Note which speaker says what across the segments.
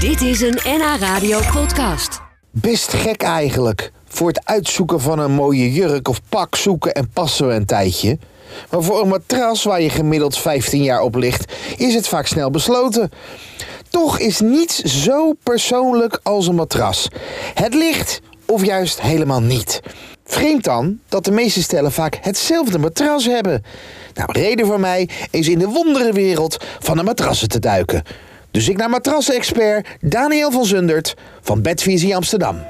Speaker 1: Dit is een NH Radio podcast.
Speaker 2: Best gek eigenlijk. Voor het uitzoeken van een mooie jurk of pak zoeken en passen we een tijdje. Maar voor een matras waar je gemiddeld 15 jaar op ligt, is het vaak snel besloten. Toch is niets zo persoonlijk als een matras. Het ligt of juist helemaal niet. Vreemd dan dat de meeste stellen vaak hetzelfde matras hebben. Nou, reden voor mij is in de wonderenwereld van de matrassen te duiken. Dus ik naar matrassen-expert Daniel van Zundert van Bedvisie Amsterdam.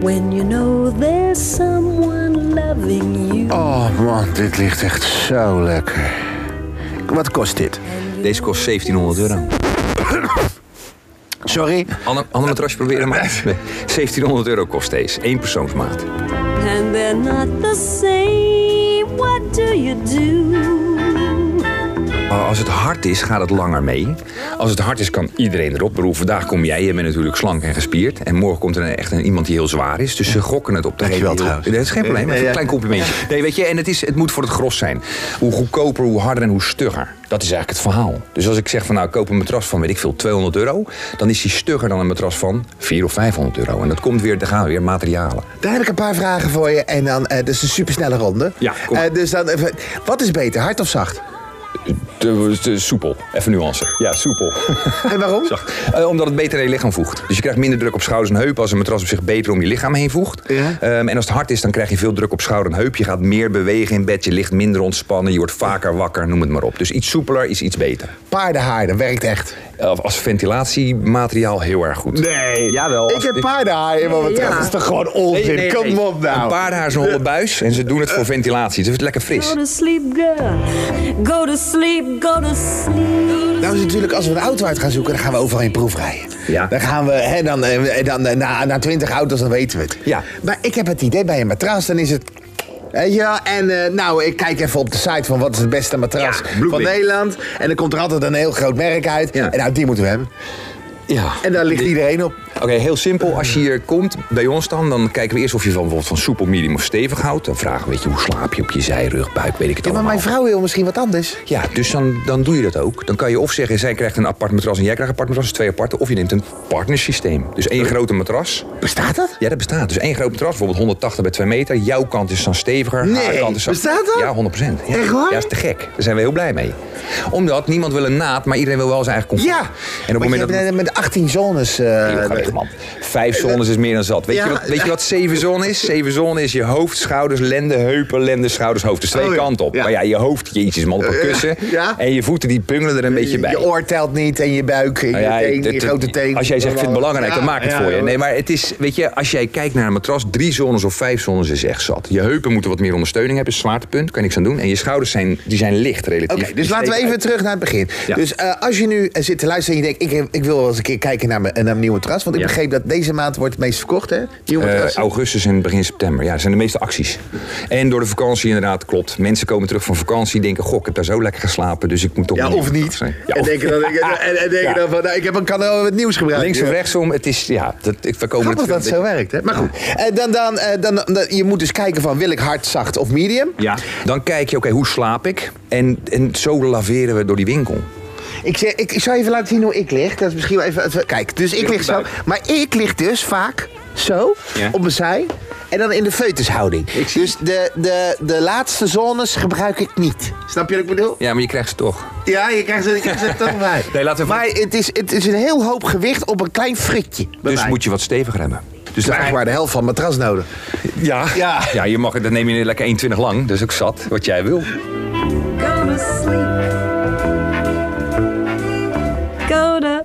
Speaker 3: When you know there's someone loving you.
Speaker 2: Oh man, dit ligt echt zo lekker. Wat kost dit?
Speaker 4: Deze kost 1700 euro.
Speaker 2: Sorry?
Speaker 4: Ander, ander matrasje proberen maar. Nee, 1700 euro kost deze. Eén persoonsmaat.
Speaker 3: And they're not the same. What do you do?
Speaker 4: Oh, Als het hard is, gaat het langer mee. Als het hard is, kan iedereen erop. Ik Bedoel, vandaag kom jij, je bent natuurlijk slank en gespierd. En morgen komt er een- echt een, iemand die heel zwaar is. Dus ze gokken het op de
Speaker 2: Dankjewel
Speaker 4: hele-
Speaker 2: trouwens.
Speaker 4: Dat is geen probleem, even
Speaker 2: Nee,
Speaker 4: een
Speaker 2: ja.
Speaker 4: klein complimentje. Nee, weet je, en het, is, het moet voor het gros zijn. Hoe goedkoper, hoe harder en hoe stugger. Dat is eigenlijk het verhaal. Dus als ik zeg van nou, ik koop een matras van, weet ik veel, 200 euro. Dan is die stugger dan een matras van 400 of 500 euro. En dat komt weer, daar gaan we weer materialen.
Speaker 2: Daar heb ik een paar vragen voor je en dan, eh, dat is een supersnelle ronde.
Speaker 4: Ja, kom.
Speaker 2: Eh, dus dan even, wat is beter, hard of zacht?
Speaker 4: Te, te soepel. Even nuance. Ja, soepel.
Speaker 2: En waarom?
Speaker 4: Zacht. Eh, omdat het beter aan je lichaam voegt. Dus je krijgt minder druk op schouders en heupen als een matras op zich beter om je lichaam heen voegt.
Speaker 2: Ja.
Speaker 4: Ehm, en als het hard is, dan krijg je veel druk op schouder en heup. Je gaat meer bewegen in bed, je ligt minder ontspannen, je wordt vaker wakker, noem het maar op. Dus iets soepeler is iets beter.
Speaker 2: Paardenhaar, dat werkt echt.
Speaker 4: Of als ventilatiemateriaal heel erg goed.
Speaker 2: Nee.
Speaker 4: Jawel.
Speaker 2: Ik heb paardenhaar in mijn matras.
Speaker 4: Ja.
Speaker 2: Dat is toch gewoon onzin? Kom op nou.
Speaker 4: Een paardenhaar is een holle buis en ze doen het voor ventilatie. Dus het is lekker fris.
Speaker 3: Go to sleep, girl. Go to sleep, go to sleep.
Speaker 2: Nou is het natuurlijk, als we een auto uit gaan zoeken, dan gaan we overal in proefrijden.
Speaker 4: Ja.
Speaker 2: Dan gaan we, hè, dan, eh, dan, eh, na, na 20 auto's, dan weten we het.
Speaker 4: Ja.
Speaker 2: Maar ik heb het idee, bij een matras, dan is het... Weet je wel, en eh, nou, ik kijk even op de site van wat is het beste matras
Speaker 4: Bluewing.
Speaker 2: van Nederland. En dan komt er altijd een heel groot merk uit.
Speaker 4: Ja.
Speaker 2: En nou, die moeten we hebben.
Speaker 4: Ja.
Speaker 2: En daar ligt iedereen op.
Speaker 4: Oké, heel simpel. Als je hier komt bij ons dan, dan kijken we eerst of je van bijvoorbeeld van soepel, medium of stevig houdt. Dan vragen we, weet je, hoe slaap je op je zij, rug, buik, weet ik het
Speaker 2: Ja, maar
Speaker 4: allemaal.
Speaker 2: mijn vrouw wil misschien wat anders.
Speaker 4: Ja, dus dan, dan doe je dat ook. Dan kan je of zeggen, zij krijgt een apart matras en jij krijgt een apart matras, dus twee aparte. Of je neemt een partnersysteem. Dus één grote matras.
Speaker 2: Bestaat dat?
Speaker 4: Ja, dat bestaat. Dus één groot matras, bijvoorbeeld 180 bij 2 meter. Jouw kant is dan steviger,
Speaker 2: Nee,
Speaker 4: haar kant is dan...
Speaker 2: bestaat dat?
Speaker 4: Ja, 100 Ja.
Speaker 2: Echt waar?
Speaker 4: Ja, is te gek. Daar zijn we heel blij mee. Omdat niemand wil een naad, maar iedereen wil wel zijn eigen comfort.
Speaker 2: Ja.
Speaker 4: En op het
Speaker 2: Want
Speaker 4: moment
Speaker 2: je
Speaker 4: dat...
Speaker 2: hebt net met 18 zones... eh,
Speaker 4: Eeuw, ga weg, man. Vijf zones is meer dan zat. Weet,
Speaker 2: Ja.
Speaker 4: je, wat, weet je wat zeven zones is? Zeven zones is je hoofd, schouders, lenden, heupen, lenden, schouders, hoofd. Dus twee
Speaker 2: Oh, ja.
Speaker 4: kanten op.
Speaker 2: Ja. Eh,
Speaker 4: Maar ja, je hoofd, jeetjes man, op een kussen.
Speaker 2: ja. Eh,
Speaker 4: En je voeten die pungelen er een beetje bij.
Speaker 2: Je oor telt niet en je buik, en je,
Speaker 4: Nou ja,
Speaker 2: teen,
Speaker 4: het-
Speaker 2: je
Speaker 4: het-
Speaker 2: grote teen.
Speaker 4: Als jij zegt, ik vind het belangrijk, dan maak het
Speaker 2: Ja,
Speaker 4: voor je.
Speaker 2: ja,
Speaker 4: Nee, maar het is, weet je, als jij kijkt naar een matras, drie zones of vijf zones is echt zat. Je heupen moeten wat meer ondersteuning hebben, is zwaartepunt, kan je niks aan doen. En je schouders zijn, die zijn licht relatief.
Speaker 2: Oké, dus
Speaker 4: Die
Speaker 2: laten we
Speaker 4: steken
Speaker 2: even
Speaker 4: uit.
Speaker 2: terug naar het begin.
Speaker 4: Ja.
Speaker 2: Dus eh, als je nu eh, zit te luisteren en je denkt... ik, ik wil wel eens een keer kijken naar mijn, eh, naar mijn nieuwe terras... want ik
Speaker 4: Ja.
Speaker 2: begreep dat deze maand wordt het meest verkocht, hè? Nieuwe
Speaker 4: Eh,
Speaker 2: terrassen.
Speaker 4: augustus en begin september. Ja, dat zijn de meeste acties. En door de vakantie inderdaad, klopt. Mensen komen terug van vakantie, denken... goh, ik heb daar zo lekker geslapen, dus ik moet toch...
Speaker 2: ja,
Speaker 4: weer
Speaker 2: of
Speaker 4: op
Speaker 2: niet.
Speaker 4: vakantie zijn. Ja,
Speaker 2: en
Speaker 4: of-
Speaker 2: denken dan, ik- en, en denken
Speaker 4: Ja.
Speaker 2: dan van, nou, ik heb een kanaal met nieuws gebruikt.
Speaker 4: Links of
Speaker 2: Ja.
Speaker 4: rechtsom, het is... Ja, dat, ik we komen er
Speaker 2: Grappig dat
Speaker 4: terug.
Speaker 2: het zo werkt, hè? Maar goed, Eh, dan, dan, eh, dan, dan, je moet dus kijken van... wil ik hard, zacht of medium?
Speaker 4: Ja. Dan kijk je, oké, hoe slaap ik? En, en zo laveren we door die winkel.
Speaker 2: Ik, zeg, ik, ik zal even laten zien hoe ik lig. Dat is misschien wel even, even- Kijk, dus ik
Speaker 4: Ligt
Speaker 2: lig zo.
Speaker 4: erbij.
Speaker 2: Maar ik lig dus vaak zo
Speaker 4: Ja.
Speaker 2: op mijn zij. En dan in de feutushouding.
Speaker 4: Ik zie-
Speaker 2: Dus de, de, de laatste zones gebruik ik niet. Snap je wat ik bedoel?
Speaker 4: Ja, maar je krijgt ze toch.
Speaker 2: Ja, je krijgt het, je krijgt het toch bij.
Speaker 4: Nee, laten we-
Speaker 2: Maar het is, het is een heel hoop gewicht op een klein frikje. bij
Speaker 4: Dus
Speaker 2: mij.
Speaker 4: moet je wat steviger hebben. Dus
Speaker 2: Dus eigenlijk
Speaker 4: eigenlijk
Speaker 2: maar de helft van het matras nodig.
Speaker 4: Ja.
Speaker 2: Ja.
Speaker 4: ja. ja je mag, dan neem je lekker 1,20 lang. Dus ook zat, wat jij wil.
Speaker 3: Go to sleep. Go to